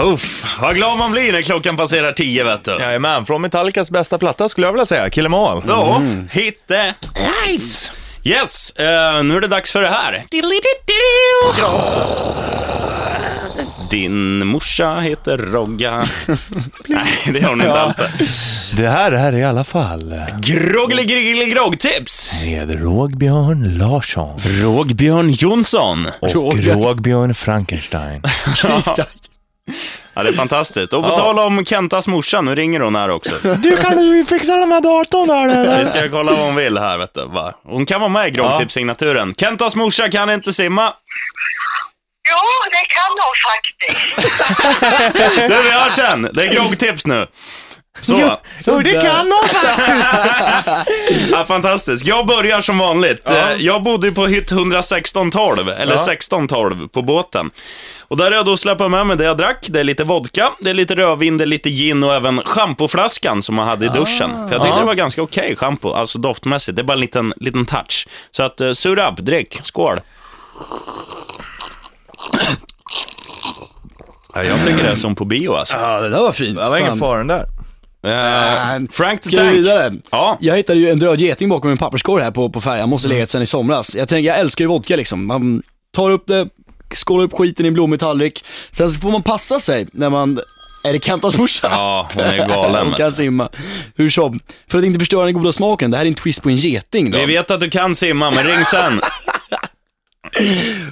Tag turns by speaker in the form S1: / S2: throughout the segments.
S1: Huff, vad glad man blir när klockan passerar tio vet du.
S2: Jajamän, från Metallicas bästa platta skulle jag vilja säga, Kill 'em All.
S1: Ja, hit the lights. Yes, eh, nu är det dags för det här. Din morsa heter Rogga. Nej, det har hon inte alls det.
S2: Det här är i alla fall
S1: Groggeligrogg-tips!
S2: med Rågbjörn Larsson
S1: Rågbjörn Jonsson.
S2: och Rågbjörn Frankenstein.
S1: Ja, det är fantastiskt. Och på tal om Kentas morsa, nu ringer hon här också.
S2: Du kan du fixa den här datorn där
S1: Vi ska kolla vad hon vill här, vet du. Va? Hon kan vara med i Groggtips-signaturen. Kentas morsa kan inte simma.
S3: Jo, det kan hon faktiskt.
S1: Du, vi hörs sen. Det är groggtips nu. Så.
S2: Så det kan hon!
S1: Ja, fantastiskt. Jag börjar som vanligt. Eh, Jag bodde ju på hytt 11612, eller 1612, på båten. Och där har jag då släpat med mig det jag drack. Det är lite vodka, det är lite rödvin, det är lite gin och även schampoflaskan som man hade i duschen.
S4: Ah.
S1: För jag tyckte det var ganska okej schampo, alltså doftmässigt. Det är bara en liten, liten touch. Så att, uh, sur upp, drick, skål. Ja, jag tycker det är som på bio alltså.
S4: Ja, det där var fint.
S2: Det var ingen
S4: Fan. Äh,
S2: fara den där.
S1: Eh,
S4: Nej.
S1: Frank the
S4: Ska vi
S1: Tank.
S4: vidare?
S1: Ja.
S4: Jag hittade ju en död geting bakom en papperskorg här på, på färjan, måste legat sedan i somras. Jag tänker, jag älskar ju vodka liksom. Man tar upp det, skålar upp skiten i en blommig tallrik. Sen så får man passa sig när man, är det Kentas morsa?
S1: Ja, hon är galen.
S4: Hon kan simma. Hur som, för att inte förstöra den goda smaken, det här är en twist på en geting då.
S1: Vi vet att du kan simma, men ring sen.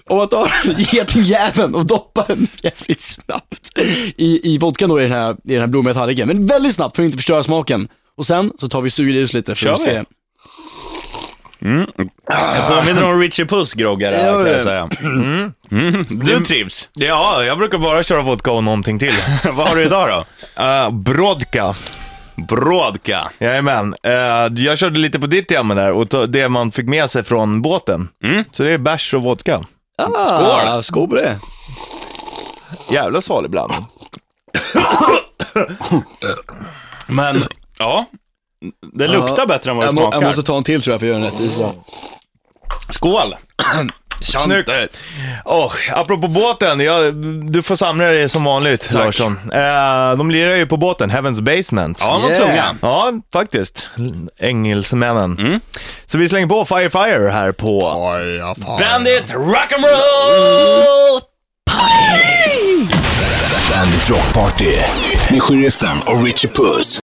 S4: Om man tar getingjäveln och doppar den jävligt snabbt i, i vodkan då i den här, i den här blommiga tallriken. Men väldigt snabbt för att inte förstöra smaken. Och sen så tar vi och suger i oss lite för
S1: Kör
S4: att
S1: vi.
S4: se.
S1: Jag påminner om Richie Puss groggar här,
S4: Ja,
S1: kan jag
S4: det.
S1: säga. Mm. Du trivs.
S2: Ja, jag brukar bara köra vodka och någonting till.
S1: Vad har du idag då?
S2: Uh, brodka.
S1: Brodka.
S2: Jajamän. Uh, jag körde lite på ditt tema där och to- det man fick med sig från båten. Så det är bärs och vodka.
S4: Ah, skål på det.
S2: Jävla salig blandning.
S1: Men, ja. Det luktar bättre än vad det
S4: Jag, må,
S1: smakar.
S4: jag måste ta en till tror jag för att göra den rättvisa.
S1: Skål!
S2: Snyggt. Oh, apropå båten, jag, du får samla dig som vanligt Larsson. Eh, de lirar ju på båten, Heaven's Basement.
S1: Ja, de
S4: Yeah.
S1: tunga.
S2: Ja, faktiskt. Engelsmännen. Så vi slänger på Fire Fire här på...
S1: Bandit rock'n'roll!
S5: Bandit Rock Party med Sheriffen och Richie Puss.